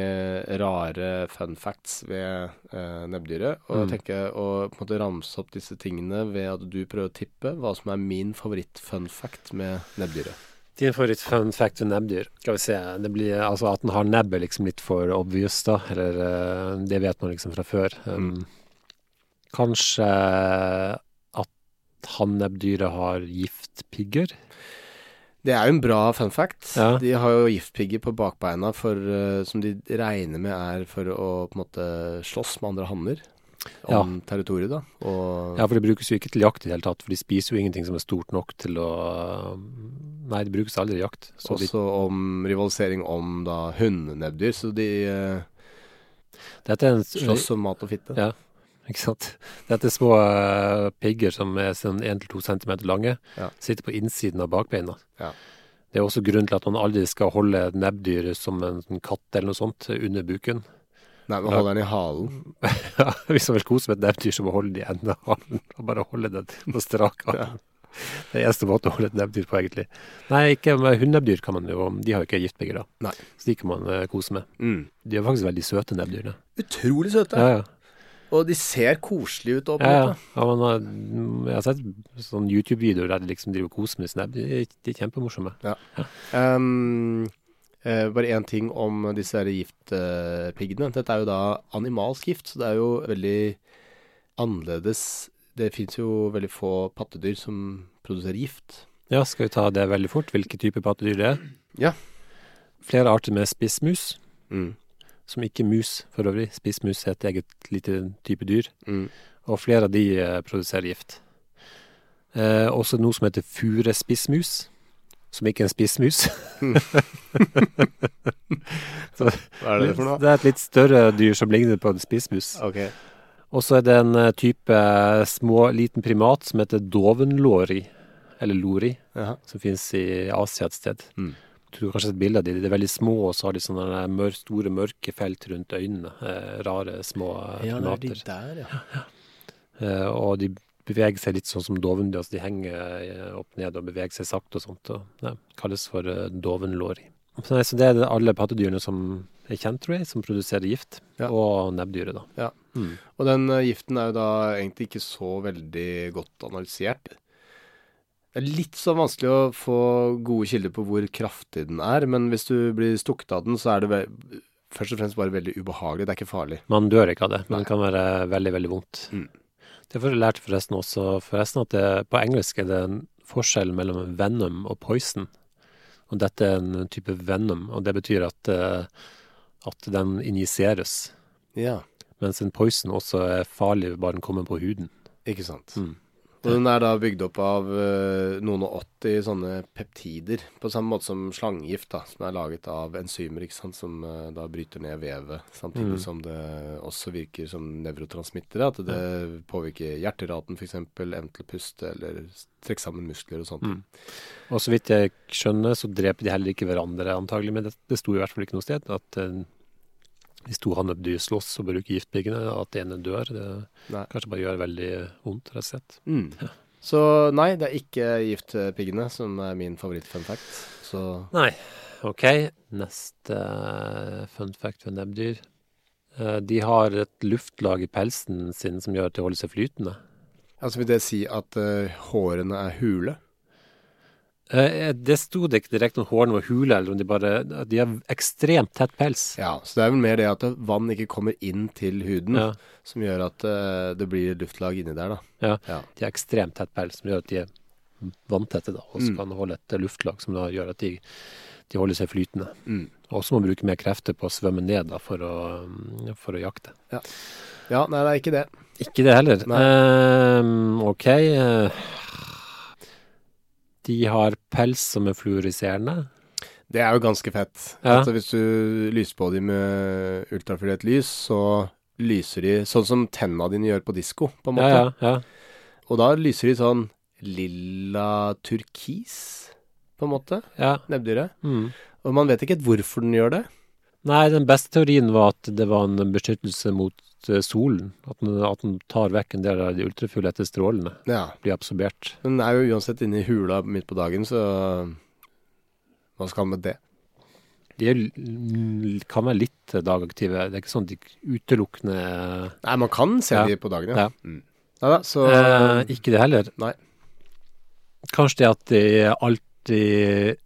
[SPEAKER 3] rare fun facts ved uh, nebbdyret. Og jeg
[SPEAKER 2] Mm.
[SPEAKER 3] tenker å på en måte ramse opp disse tingene ved at du prøver å tippe hva som er min favoritt-fun fact med nebbdyret.
[SPEAKER 2] Din favoritt-fun fact ved nebbdyr? Skal vi se, det blir altså at den har nebb er liksom litt for obvious, da. Eller eh, det vet man liksom fra før. Um, Kanskje at hannnebbdyret har giftpigger?
[SPEAKER 3] Det er jo en bra fun fact.
[SPEAKER 2] Ja.
[SPEAKER 3] De har jo giftpigger på bakbeina for, eh, som de regner med er for å på en måte slåss med andre hanner om territoriet, da. Og
[SPEAKER 2] Ja, for det brukes jo ikke til jakt i det hele tatt, for de spiser jo ingenting som er stort nok til å eh, Nei, det brukes aldri i jakt. Så de
[SPEAKER 3] også om rivalisering om da hundenebbdyr, så de eh,
[SPEAKER 2] Dette er en
[SPEAKER 3] slåss om mat og fitte.
[SPEAKER 2] Ja. Ikke sant? Dette er små eh, pigger som er sånn 1-2 cm lange,
[SPEAKER 3] Ja.
[SPEAKER 2] sitter på innsiden av bakbeina.
[SPEAKER 3] Ja.
[SPEAKER 2] Det er også grunnen til at man aldri skal holde et nebbdyr som en, en katt eller noe sånt under buken. [LAUGHS]
[SPEAKER 3] Nei, men holder den i halen.
[SPEAKER 2] Ja, Hvis man vil kose med et nebbdyr, så må man holde det i enden av halen, og bare holde den på strak arm. [LAUGHS] Det er eneste måten å holde et nebbdyr på, egentlig. Nei, ikke med hundenebbdyr kan man jo De har jo ikke giftpigger, da.
[SPEAKER 3] Nei.
[SPEAKER 2] Så de kan man eh, kose med.
[SPEAKER 3] Mm.
[SPEAKER 2] De er faktisk veldig søte, nebbdyrene.
[SPEAKER 3] Utrolig søte.
[SPEAKER 2] Ja, ja.
[SPEAKER 3] Og de ser koselige ut.
[SPEAKER 2] Ja, ja. ja man har, mm, jeg har sett sånne YouTube-videoer der de liksom driver og koser med snap. De, de er kjempemorsomme.
[SPEAKER 3] Um, eh, bare én ting om disse her giftpiggene. Dette er jo da animalsk gift, så det er jo veldig annerledes Det fins jo veldig få pattedyr som produserer gift.
[SPEAKER 2] Ja, skal vi ta det veldig fort? Hvilke typer pattedyr det er?
[SPEAKER 3] Ja.
[SPEAKER 2] Flere arter med spissmus,
[SPEAKER 3] Mm.
[SPEAKER 2] som ikke mus for øvrig. Spissmus er et eget lite type dyr,
[SPEAKER 3] Mm.
[SPEAKER 2] og flere av de eh, produserer gift. Eh, også noe som heter furespissmus, som ikke er en spissmus.
[SPEAKER 3] Hva er det for noe?
[SPEAKER 2] [LAUGHS] det er et litt større dyr som ligner på en spissmus.
[SPEAKER 3] Ok.
[SPEAKER 2] Og så er det en eh, type små, liten primat som heter dovenlori, eller lori,
[SPEAKER 3] Jaha.
[SPEAKER 2] som finnes i Asia et sted.
[SPEAKER 3] Mm.
[SPEAKER 2] Jeg tror kanskje et bilde av de, de er veldig små, og så har de sånne der mør, store mørke felt rundt øynene. Eh, rare, små eh, primater.
[SPEAKER 3] der, ja.
[SPEAKER 2] eh, og de beveger seg litt sånn som dovendyr, altså de henger eh, opp ned og beveger seg sakte og sånt. Og, ja, kalles for eh, dovenlori. Så, nei, så det er det alle pattedyrene som er kjent, tror jeg, som produserer gift,
[SPEAKER 3] Ja.
[SPEAKER 2] og nebbdyret da.
[SPEAKER 3] Ja.
[SPEAKER 2] Mm.
[SPEAKER 3] Og den eh, giften er jo da egentlig ikke så veldig godt analysert. Det er litt så vanskelig å få gode kilder på hvor kraftig den er, men hvis du blir stukket av den, så er det ve først og fremst bare veldig ubehagelig. Det er ikke farlig.
[SPEAKER 2] Man dør ikke av det, men
[SPEAKER 3] Nei.
[SPEAKER 2] det kan være veldig, veldig vondt.
[SPEAKER 3] Mm.
[SPEAKER 2] Derfor lærte jeg forresten også forresten at det, på engelsk er det en forskjell mellom venom og poison. Og dette er en type venom, og det betyr at, eh, at den injiseres.
[SPEAKER 3] Ja,
[SPEAKER 2] Mens en poison også er farlig bare den kommer på huden.
[SPEAKER 3] ikke sant.
[SPEAKER 2] Mm.
[SPEAKER 3] Og den er da bygd opp av eh, noen og åtti sånne peptider, på samme måte som slangegift, da, som er laget av enzymer, ikke sant, som eh, da bryter ned vevet, samtidig
[SPEAKER 2] Mm.
[SPEAKER 3] som det også virker som nevrotransmittere, at det påvirker hjerteraten f.eks., evnen til å puste, eller trekke sammen muskler og sånt.
[SPEAKER 2] Mm. Og så vidt jeg skjønner, så dreper de heller ikke hverandre antagelig, men det, det sto i hvert fall ikke noe sted at eh, hvis to hanndyr slåss og bruker giftpiggene, at det ene dør, det
[SPEAKER 3] Nei.
[SPEAKER 2] kanskje bare gjør veldig vondt, rett og slett.
[SPEAKER 3] Mm. Så nei, det er ikke giftpiggene som er min favoritt-fun fact. Så
[SPEAKER 2] Nei. Ok, neste eh, fun fact for nebbdyr. Eh, De har et luftlag i pelsen sin som gjør at de holder seg flytende.
[SPEAKER 3] altså vil det si at eh, hårene er hule?
[SPEAKER 2] Eh, Det sto det ikke direkte om hårene var hule, eller om de bare at De har ekstremt tett pels.
[SPEAKER 3] Ja, så det er vel mer det at det- vann ikke kommer inn til huden,
[SPEAKER 2] Ja.
[SPEAKER 3] som gjør at eh, det blir luftlag inni der, da.
[SPEAKER 2] Ja.
[SPEAKER 3] Ja.
[SPEAKER 2] De har ekstremt tett pels, som gjør at de er vanntette da, og så kan holde et luftlag som da gjør at de, de holder seg flytende.
[SPEAKER 3] Mm.
[SPEAKER 2] Og så må man bruke mer krefter på å svømme ned da, for, å, mm, for å jakte.
[SPEAKER 3] Ja, nei, det er ikke det.
[SPEAKER 2] Ikke det heller.
[SPEAKER 3] Nei.
[SPEAKER 2] Ehm, ok. eh, De har pels som er fluoriserende.
[SPEAKER 3] Det er jo ganske fett.
[SPEAKER 2] Ja.
[SPEAKER 3] Altså, hvis du lyser på dem med ultrafiolett lys, så lyser de sånn som tenna dine gjør på disko, på en
[SPEAKER 2] Ja,
[SPEAKER 3] måte.
[SPEAKER 2] ja, ja.
[SPEAKER 3] Og da lyser de sånn lilla turkis, på en måte,
[SPEAKER 2] ja.
[SPEAKER 3] nebbdyret.
[SPEAKER 2] Mm.
[SPEAKER 3] Og man vet ikke helt hvorfor den gjør det.
[SPEAKER 2] Nei, den beste teorien var at det var en beskyttelse mot eh, solen. At den, at den tar vekk en del av de ultrafiolette strålene.
[SPEAKER 3] Ja.
[SPEAKER 2] Blir absorbert.
[SPEAKER 3] Men den er jo uansett inne i hula midt på dagen, så hva skal man med det?
[SPEAKER 2] De er, l- kan være litt dagaktive. Det er ikke sånn de utelukkende
[SPEAKER 3] Nei, man kan se
[SPEAKER 2] Ja.
[SPEAKER 3] de på dagen, ja.
[SPEAKER 2] Ja.
[SPEAKER 3] Mm. Neida, så
[SPEAKER 2] eh, Ikke det heller.
[SPEAKER 3] Nei.
[SPEAKER 2] Kanskje det at de alltid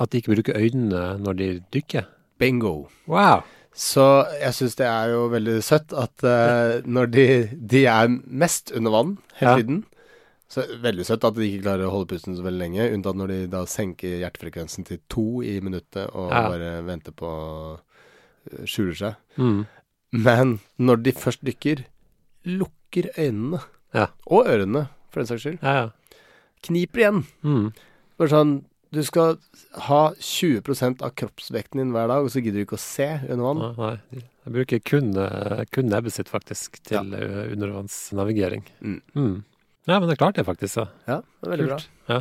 [SPEAKER 2] At de ikke bruker øynene når de dykker.
[SPEAKER 3] bingo.
[SPEAKER 2] Wow!
[SPEAKER 3] Så jeg syns det er jo veldig søtt at eh, når de, de er mest under vann hele
[SPEAKER 2] Ja.
[SPEAKER 3] tiden så er det Veldig søtt at de ikke klarer å holde pusten så veldig lenge, unntatt når de da senker hjertefrekvensen til to i minuttet og
[SPEAKER 2] Ja.
[SPEAKER 3] bare venter på eh, skjuler seg.
[SPEAKER 2] Mm.
[SPEAKER 3] Men når de først dykker, lukker øynene.
[SPEAKER 2] Ja.
[SPEAKER 3] Og ørene, for den saks skyld.
[SPEAKER 2] Ja, ja.
[SPEAKER 3] Kniper igjen.
[SPEAKER 2] Mm.
[SPEAKER 3] Bare sånn Du skal ha 20 av kroppsvekten din hver dag, og så gidder du ikke å se under vann.
[SPEAKER 2] Nei, nei. Jeg bruker kun, eh, kun nebbet sitt, faktisk, til eh, undervannsnavigering.
[SPEAKER 3] Mm.
[SPEAKER 2] Mm. Ja, men det klarte jeg faktisk. Ja.
[SPEAKER 3] Ja, det er veldig bra.
[SPEAKER 2] Ja.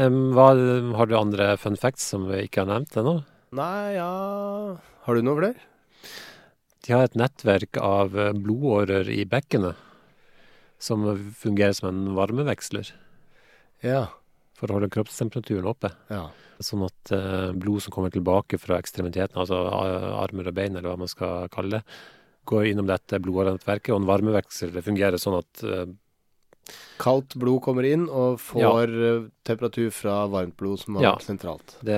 [SPEAKER 2] Em, hva, eh, har du andre fun facts som vi ikke har nevnt ennå?
[SPEAKER 3] Nei, ja Har du noe flere?
[SPEAKER 2] De har et nettverk av eh, blodårer i bekkenet som fungerer som en varmeveksler
[SPEAKER 3] Ja.
[SPEAKER 2] for å holde kroppstemperaturen oppe.
[SPEAKER 3] ja.
[SPEAKER 2] Sånn at eh, blod som kommer tilbake fra ekstremitetene, altså a- armer og bein, eller hva man skal kalle det, går innom dette blodårenettverket, og en varmeveksler det fungerer sånn at eh,
[SPEAKER 3] Kaldt blod kommer inn og får eh, temperatur fra varmt blod som har
[SPEAKER 2] Ja.
[SPEAKER 3] vært sentralt.
[SPEAKER 2] det,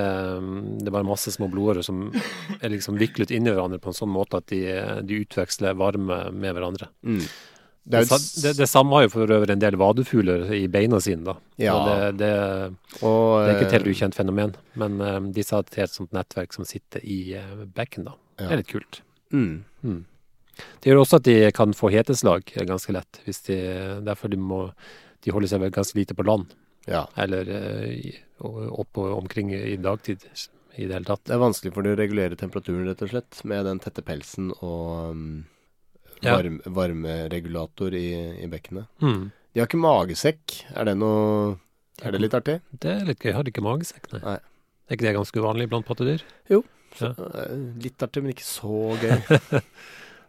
[SPEAKER 2] det er bare masse små blodårer som er
[SPEAKER 3] Mm.
[SPEAKER 2] liksom viklet inn i hverandre på en sånn måte at de, de utveksler varme med hverandre.
[SPEAKER 3] Det er jo
[SPEAKER 2] sa-
[SPEAKER 3] et
[SPEAKER 2] det, det samme har jo for øvrig en del vadefugler i beina sine, da.
[SPEAKER 3] Ja.
[SPEAKER 2] Så det, det
[SPEAKER 3] og,
[SPEAKER 2] Det er ikke et helt
[SPEAKER 3] eh,
[SPEAKER 2] ukjent fenomen, men eh, disse har et helt sånt nettverk som sitter i eh, bekken, da. Det
[SPEAKER 3] Ja.
[SPEAKER 2] er litt kult.
[SPEAKER 3] Mm.
[SPEAKER 2] Det gjør også at de kan få heteslag eh, ganske lett, hvis de, derfor de må de holder seg vel ganske lite på land,
[SPEAKER 3] Ja.
[SPEAKER 2] eller eh, i- og- opp og omkring i dagtid i det hele tatt.
[SPEAKER 3] Det er vanskelig for de å regulere temperaturen, rett og slett, med den tette pelsen og um,
[SPEAKER 2] Ja.
[SPEAKER 3] varm, varmeregulator i, i bekkenet.
[SPEAKER 2] Mm.
[SPEAKER 3] De har ikke magesekk. Er det noe Er det litt artig?
[SPEAKER 2] Det er litt gøy. Har de ikke magesekk, nei?
[SPEAKER 3] Nei.
[SPEAKER 2] Er ikke det ganske uvanlig blant pattedyr?
[SPEAKER 3] Eh, Litt artig, men ikke så gøy. [LAUGHS]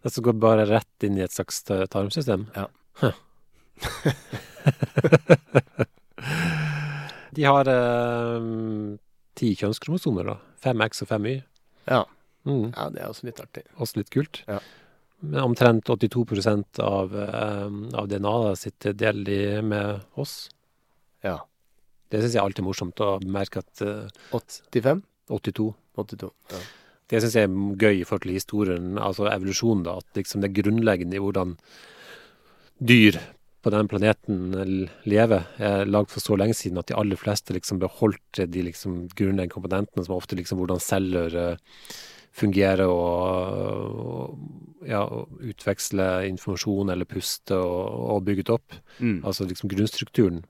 [SPEAKER 2] Det som går bare rett inn i et slags eh, tarmsystem?
[SPEAKER 3] Ja.
[SPEAKER 2] Huh. [LAUGHS] De har eh, ti kjønnskromosomer, da. Fem X og fem Y.
[SPEAKER 3] Ja.
[SPEAKER 2] Mm,
[SPEAKER 3] ja, det er også litt artig.
[SPEAKER 2] også litt kult.
[SPEAKER 3] Ja.
[SPEAKER 2] Men omtrent 82 av, eh, av DNA-et sitt er delt i med oss.
[SPEAKER 3] Ja.
[SPEAKER 2] Det syns jeg alltid er morsomt å merke at eh,
[SPEAKER 3] 85?
[SPEAKER 2] 82
[SPEAKER 3] 82. Ja.
[SPEAKER 2] Det syns jeg er gøy i forhold til historien, altså evolusjonen, da. At liksom det er grunnleggende i hvordan dyr på den planeten l- lever, er lagd for så lenge siden at de aller fleste liksom beholdt de liksom grunnleggende komponentene, som ofte liksom hvordan celler eh, fungerer og, og ja, og utveksler informasjon eller puster og, og bygget opp.
[SPEAKER 3] Mm.
[SPEAKER 2] Altså liksom grunnstrukturen.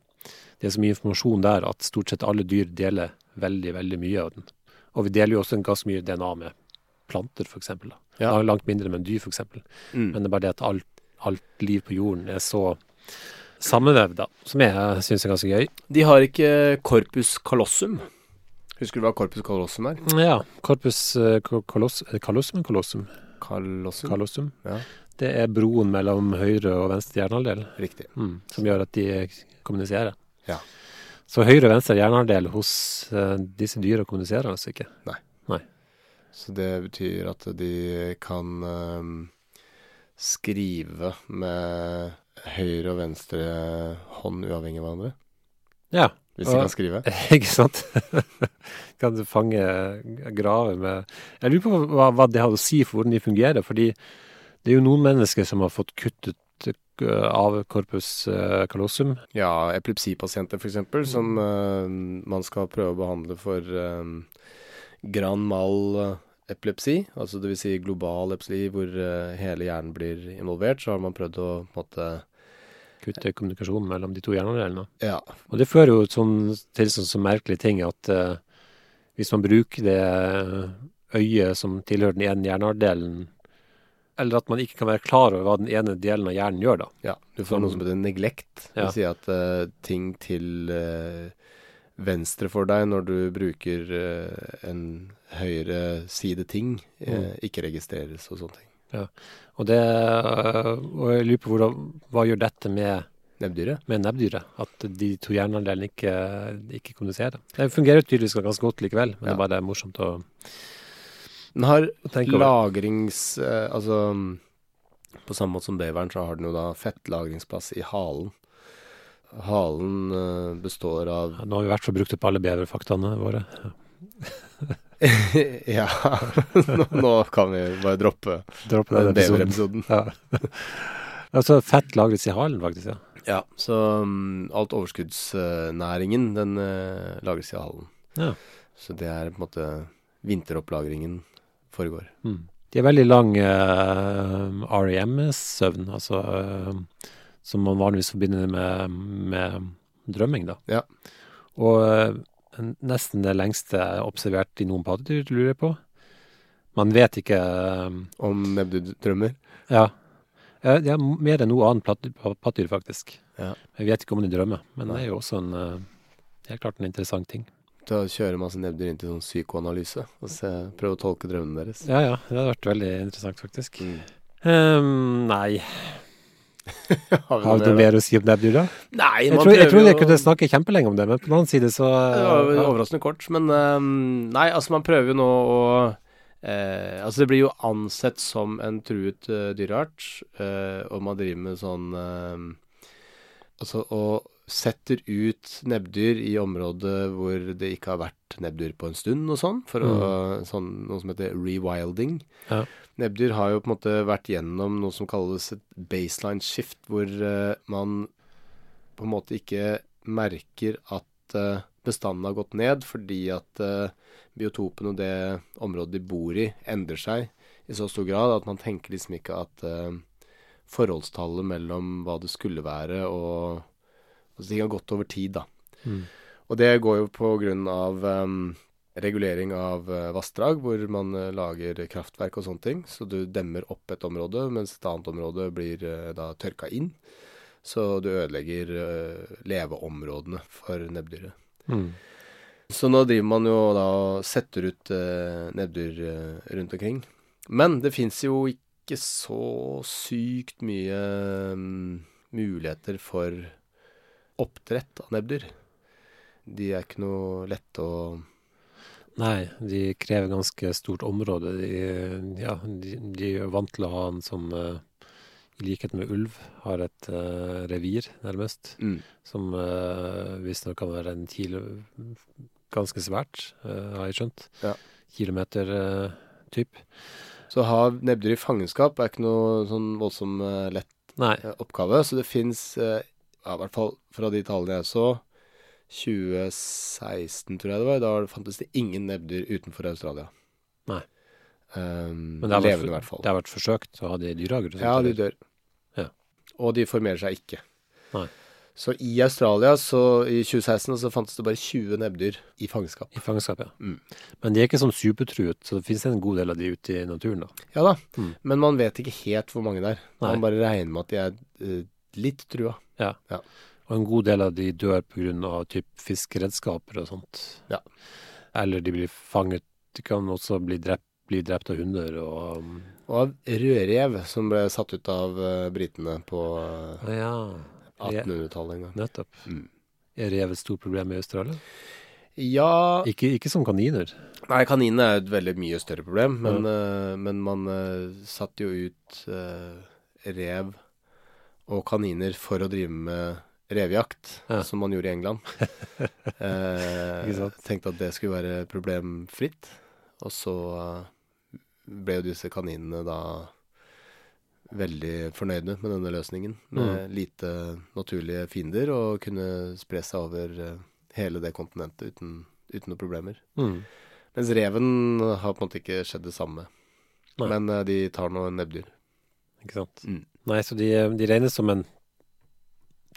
[SPEAKER 2] Det er så mye informasjon der at stort sett alle dyr deler veldig, veldig mye av den. Og vi deler jo også en ganske mye DNA med planter, for eksempel. Da.
[SPEAKER 3] Ja.
[SPEAKER 2] Da er det Langt mindre med dyr, for eksempel.
[SPEAKER 3] Mm.
[SPEAKER 2] Men det er bare det at alt, alt liv på jorden er så sammenvevd, da. Som jeg syns er ganske gøy.
[SPEAKER 3] De har ikke corpus callosum. Husker du hva corpus callosum er?
[SPEAKER 2] Ja. Corpus eh, co- coloss, eh, callosum colossum?
[SPEAKER 3] Callosum.
[SPEAKER 2] Callosum.
[SPEAKER 3] Ja.
[SPEAKER 2] Det er broen mellom høyre og venstre hjernehalvdel.
[SPEAKER 3] Riktig.
[SPEAKER 2] Mm, som gjør at de kommuniserer.
[SPEAKER 3] Ja.
[SPEAKER 2] Så høyre og venstre hjernehalvdel hos eh, disse dyra kommuniserer altså ikke.
[SPEAKER 3] Så det betyr at de kan ehm, skrive med høyre og venstre hånd uavhengig av hverandre.
[SPEAKER 2] Ja,
[SPEAKER 3] Hvis de
[SPEAKER 2] Ja.
[SPEAKER 3] kan skrive.
[SPEAKER 2] [LAUGHS] ikke sant? kan du fange eh, grave med Jeg lurer på hva, hva det har å si for hvordan de fungerer. Fordi det er jo noen mennesker som har fått kuttet eh, av corpus eh, callosum.
[SPEAKER 3] Ja, epilepsipasienter f.eks., som ehm, man skal prøve å behandle for ehm, grand mal eh, epilepsi, altså dvs. Si global epilepsi hvor eh, hele hjernen blir involvert, så har man prøvd å på en måte
[SPEAKER 2] Kutte kommunikasjonen mellom de to hjernehalvdelene.
[SPEAKER 3] Ja.
[SPEAKER 2] Og det fører jo sånn, til sånn så merkelig ting at eh, hvis man bruker det eh, øyet som tilhører den ene hjernehalvdelen, eller at man ikke kan være klar over hva den ene delen av hjernen gjør, da.
[SPEAKER 3] Ja, du får noe som heter neglekt. Det
[SPEAKER 2] Ja.
[SPEAKER 3] vil si at eh, ting til eh, venstre for deg når du bruker eh, en høyre side ting, eh, ikke registreres og sånne ting.
[SPEAKER 2] Og, det, eh, og jeg lurer på hvordan, hva gjør dette med,
[SPEAKER 3] Nebbdyret?
[SPEAKER 2] med nebbdyret? At de to hjernehalvdelene ikke, ikke kommuniserer. Det fungerer tydeligvis ganske godt likevel, men det
[SPEAKER 3] Ja.
[SPEAKER 2] er bare morsomt å,
[SPEAKER 3] Den har
[SPEAKER 2] å tenke over.
[SPEAKER 3] lagrings... eh, altså mm, på samme måte som beveren, så har den jo da fettlagringsplass i halen. Halen eh, består av [LAUGHS]
[SPEAKER 2] Ja, Nå har vi i hvert fall brukt opp alle beverfaktaene våre.
[SPEAKER 3] Ja, nå, nå kan vi bare droppe
[SPEAKER 2] Dropp [LAUGHS]
[SPEAKER 3] den
[SPEAKER 2] den
[SPEAKER 3] beverepisoden.
[SPEAKER 2] episoden. Ja. [LAUGHS] altså fett lagres i halen, faktisk. ja.
[SPEAKER 3] Ja, så um, alt overskuddsnæringen, den eh, lagres i halen.
[SPEAKER 2] Ja.
[SPEAKER 3] Så det er på en måte vinteropplagringen foregår.
[SPEAKER 2] Mm. De har veldig lang eh, REM-søvn, altså eh, som man vanligvis forbinder med, med drømming, da.
[SPEAKER 3] Ja.
[SPEAKER 2] Og eh, nesten det lengste er observert i noen pattedyr, lurer jeg på. Man vet ikke eh,
[SPEAKER 3] Om Nebdu drømmer?
[SPEAKER 2] Ja. Eh, Det er mer enn noe annet platt- pattedyr, faktisk.
[SPEAKER 3] Ja.
[SPEAKER 2] Jeg vet ikke om de drømmer, men det er jo også en eh, helt klart en interessant ting.
[SPEAKER 3] Da kjører masse Nebdur inn til sånn psykoanalyse og se, prøver å tolke drømmene deres.
[SPEAKER 2] Ja, ja. Det hadde vært veldig interessant, faktisk. Ehm, nei.
[SPEAKER 3] [LAUGHS] Har
[SPEAKER 2] Har du noe mer å si om nebbdyr, da?
[SPEAKER 3] Nei,
[SPEAKER 2] Jeg
[SPEAKER 3] man
[SPEAKER 2] tror, jeg
[SPEAKER 3] prøver
[SPEAKER 2] tror jeg
[SPEAKER 3] jo-
[SPEAKER 2] kunne snakke kjempelenge om det, men på den annen side så
[SPEAKER 3] Det var jo
[SPEAKER 2] ja.
[SPEAKER 3] overraskende kort, men ehm, Nei, altså, man prøver jo nå å eh, Altså, det blir jo ansett som en truet eh, dyreart, eh, og man driver med sånn ehm, Altså å setter ut nebbdyr i områder hvor det ikke har vært nebbdyr på en stund og sånn, for å, sånn, noe som heter rewilding.
[SPEAKER 2] Ja.
[SPEAKER 3] Nebbdyr har jo på en måte vært gjennom noe som kalles et baseline shift, hvor eh, man på en måte ikke merker at eh, bestanden har gått ned, fordi at eh, biotopen og det området de bor i endrer seg i så stor grad at man tenker liksom ikke at eh, forholdstallet mellom hva det skulle være og Altså ting har gått over tid, da. Og det går jo på grunn av em, regulering av eh, vassdrag, hvor man eh, lager kraftverk og sånne ting. Så du demmer opp et område, mens et annet område blir eh, da tørka inn. Så du ødelegger eh, leveområdene for nebbdyret.
[SPEAKER 2] Mm.
[SPEAKER 3] Så nå driver man jo da og setter ut eh, nebbdyr eh, rundt omkring. Men det fins jo ikke så sykt mye mm, muligheter for oppdrett av nebbdyr. De er ikke noe lette å
[SPEAKER 2] Nei, de krever ganske stort område. De, ja, de, de er jo vant til å ha en som, eh, i likhet med ulv, har et eh, revir, nærmest.
[SPEAKER 3] mm.
[SPEAKER 2] Som uh, visstnok kan være en kilo Ganske svært, eh, har jeg skjønt.
[SPEAKER 3] Ja.
[SPEAKER 2] Kilometer eh, typ.
[SPEAKER 3] Så å ha nebbdyr i fangenskap er ikke noe sånn voldsom eh, lett
[SPEAKER 2] Nei.
[SPEAKER 3] eh, oppgave. Så det fins, eh, ja, i hvert fall fra de tallene jeg så, 2016 tror jeg det var, da var det- fantes det ingen nebbdyr utenfor Australia.
[SPEAKER 2] Nei.
[SPEAKER 3] Um,
[SPEAKER 2] Men det har, vært,
[SPEAKER 3] levende i hvert fall.
[SPEAKER 2] det har vært forsøkt å ha det i dyrehager. og sånt,
[SPEAKER 3] Ja, de
[SPEAKER 2] eller?
[SPEAKER 3] dør.
[SPEAKER 2] Ja.
[SPEAKER 3] Og de formerer seg ikke.
[SPEAKER 2] Nei.
[SPEAKER 3] Så i Australia, så i 2016, så fantes det bare 20 nebbdyr i fangenskap.
[SPEAKER 2] I fangenskap, ja.
[SPEAKER 3] Mm.
[SPEAKER 2] Men de er ikke sånn supertruet, så det finnes en god del av de ute i naturen. da.
[SPEAKER 3] Ja da,
[SPEAKER 2] Mm.
[SPEAKER 3] men man vet ikke helt hvor mange det er.
[SPEAKER 2] Nei.
[SPEAKER 3] Man bare regner med at de er eh, litt trua.
[SPEAKER 2] Ja.
[SPEAKER 3] Ja.
[SPEAKER 2] Og en god del av de dør pga. typ fiskeredskaper og sånt.
[SPEAKER 3] Ja.
[SPEAKER 2] Eller de blir fanget De kan også bli drept, bli drept av hunder og um,
[SPEAKER 3] Og av rødrev, som ble satt ut av eh, britene på eh,
[SPEAKER 2] Ja,
[SPEAKER 3] 1800-tallet en gang.
[SPEAKER 2] nettopp.
[SPEAKER 3] Mm.
[SPEAKER 2] Er rev et stort problem i Australia?
[SPEAKER 3] Ja
[SPEAKER 2] Ikke, ikke som kaniner.
[SPEAKER 3] Nei, kaninene er et veldig mye større problem, men, eh, men man eh, satte jo ut eh, rev og kaniner for å drive med revejakt,
[SPEAKER 2] Ja.
[SPEAKER 3] som man gjorde i
[SPEAKER 2] [LAUGHS]
[SPEAKER 3] England. Eh,
[SPEAKER 2] Ikke sant?
[SPEAKER 3] tenkte at det skulle være problemfritt, og så eh, ble jo disse kaninene da veldig fornøyde med denne løsningen, med
[SPEAKER 2] Mm.
[SPEAKER 3] lite naturlige fiender, og kunne spre seg over eh, hele det kontinentet uten, uten noen problemer.
[SPEAKER 2] Mm.
[SPEAKER 3] Mens reven har på en måte ikke skjedd det samme.
[SPEAKER 2] Nei.
[SPEAKER 3] Men eh, de tar noe nebbdyr.
[SPEAKER 2] Ikke sant?
[SPEAKER 3] Mm.
[SPEAKER 2] Nei, så de, de regnes som en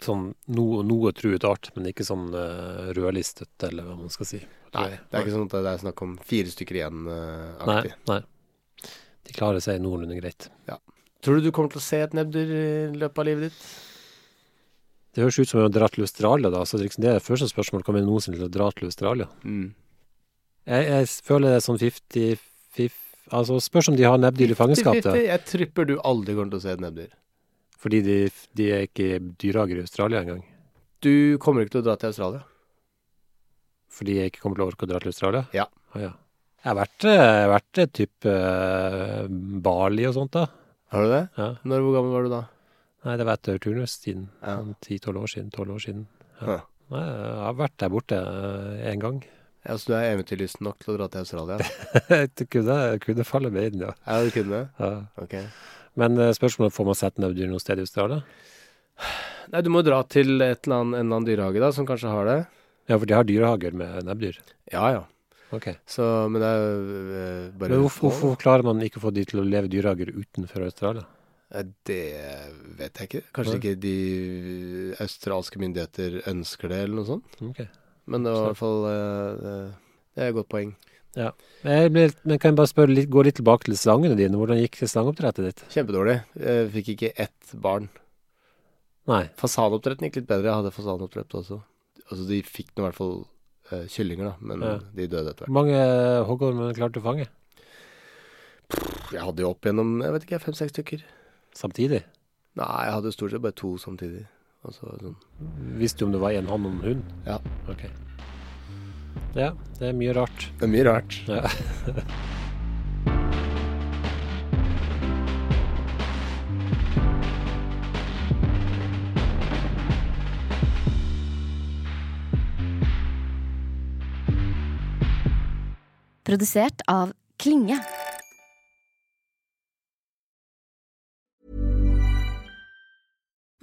[SPEAKER 2] sånn noe, noe truet art, men ikke sånn eh, rødlistet, eller hva man skal si.
[SPEAKER 3] Nei, det er ikke sånn at det er snakk om fire stykker eh,
[SPEAKER 2] Nei,
[SPEAKER 3] igjen-aktig.
[SPEAKER 2] nei. De klarer seg noenlunde greit.
[SPEAKER 3] Tror du du kommer til å se et nebbdyr i løpet av livet ditt?
[SPEAKER 2] Det høres ut som å dra til Australia, da. Så det er liksom det første spørsmålet kommer jeg noensinne til å dra til Australia.
[SPEAKER 3] Mm.
[SPEAKER 2] Jeg, jeg s- føler det er sånn 50 50 Altså, spørs om de har nebbdyr i fangenskap, da.
[SPEAKER 3] Fifty-fifty. Jeg tripper du aldri kommer til å se et nebbdyr.
[SPEAKER 2] Fordi de, de er ikke i dyrehager i Australia engang.
[SPEAKER 3] Du kommer ikke til å dra til Australia.
[SPEAKER 2] Fordi jeg ikke kommer til å orke å dra til Australia?
[SPEAKER 3] Ja.
[SPEAKER 2] Å, ja. Jeg har vært, eh, jeg har vært eh, typ eh, Bali og sånt, da.
[SPEAKER 3] Har du det?
[SPEAKER 2] Ja.
[SPEAKER 3] Når, hvor gammel var du da?
[SPEAKER 2] Nei, det var etter turnustiden.
[SPEAKER 3] Ja.
[SPEAKER 2] sånn Ti-tolv år siden. 12 år siden. Ja.
[SPEAKER 3] Huh.
[SPEAKER 2] Nei, jeg har vært der borte eh, en gang. [LAUGHS]
[SPEAKER 3] Ja, så du er eventyrlysten nok til å dra til Australia?
[SPEAKER 2] det kunne, kunne falle meg inn, ja.
[SPEAKER 3] [LAUGHS] Er du kunne det?
[SPEAKER 2] ja.
[SPEAKER 3] Ok.
[SPEAKER 2] Men eh, spørsmålet er, får man sett nebbdyr noe sted i Australia?
[SPEAKER 3] Nei, du må dra til et eller annet, en eller annen dyrehage da, som kanskje har det.
[SPEAKER 2] Ja, for de har dyrehager med nebbdyr.
[SPEAKER 3] Ja, ja.
[SPEAKER 2] Ok.
[SPEAKER 3] Så, men det er jo eh, bare
[SPEAKER 2] Men hvorfor, hvorfor klarer man ikke å få de til å leve i dyrehager utenfor Australia?
[SPEAKER 3] Eh, Det vet jeg ikke. Kanskje
[SPEAKER 2] Nei.
[SPEAKER 3] ikke de australske myndigheter ønsker det, eller noe sånt.
[SPEAKER 2] Ok.
[SPEAKER 3] Men det var i hvert fall eh, Det er et godt poeng.
[SPEAKER 2] Men Jeg ble, men kan jeg bare spørre litt, gå litt tilbake til slangene dine. Hvordan gikk slangeoppdrettet ditt?
[SPEAKER 3] Kjempedårlig. Jeg fikk ikke ett barn.
[SPEAKER 2] Nei.
[SPEAKER 3] Fasanoppdretten gikk litt bedre. Jeg hadde fasanoppdrett også. Altså, de fikk nå i hvert fall eh, kyllinger, da, men
[SPEAKER 2] Ja.
[SPEAKER 3] de døde etter hvert.
[SPEAKER 2] Hvor mange hoggormer klarte du å fange
[SPEAKER 3] Jeg hadde jo opp gjennom jeg vet ikke, fem-seks stykker.
[SPEAKER 2] samtidig?
[SPEAKER 3] Nei, jeg hadde stort sett bare to samtidig. Og så var det sånn.
[SPEAKER 2] Visste du om det var en hann og en hund?
[SPEAKER 3] Ja.
[SPEAKER 2] Ok. Ja, det er mye rart.
[SPEAKER 3] Det er mye rart.
[SPEAKER 2] Ja.
[SPEAKER 4] Produsert av Klinge.